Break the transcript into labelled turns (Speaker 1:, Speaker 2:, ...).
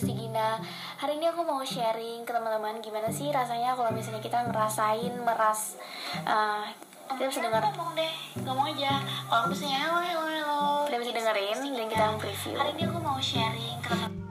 Speaker 1: si Gina. Hari ini aku mau sharing ke teman-teman gimana sih rasanya kalau misalnya kita ngerasain meras eh, kita bisa dengar
Speaker 2: ngomong deh ngomong aja kalau aku misalnya halo halo halo
Speaker 1: kita bisa dengerin dan kita preview.
Speaker 2: hari ini aku mau sharing ke teman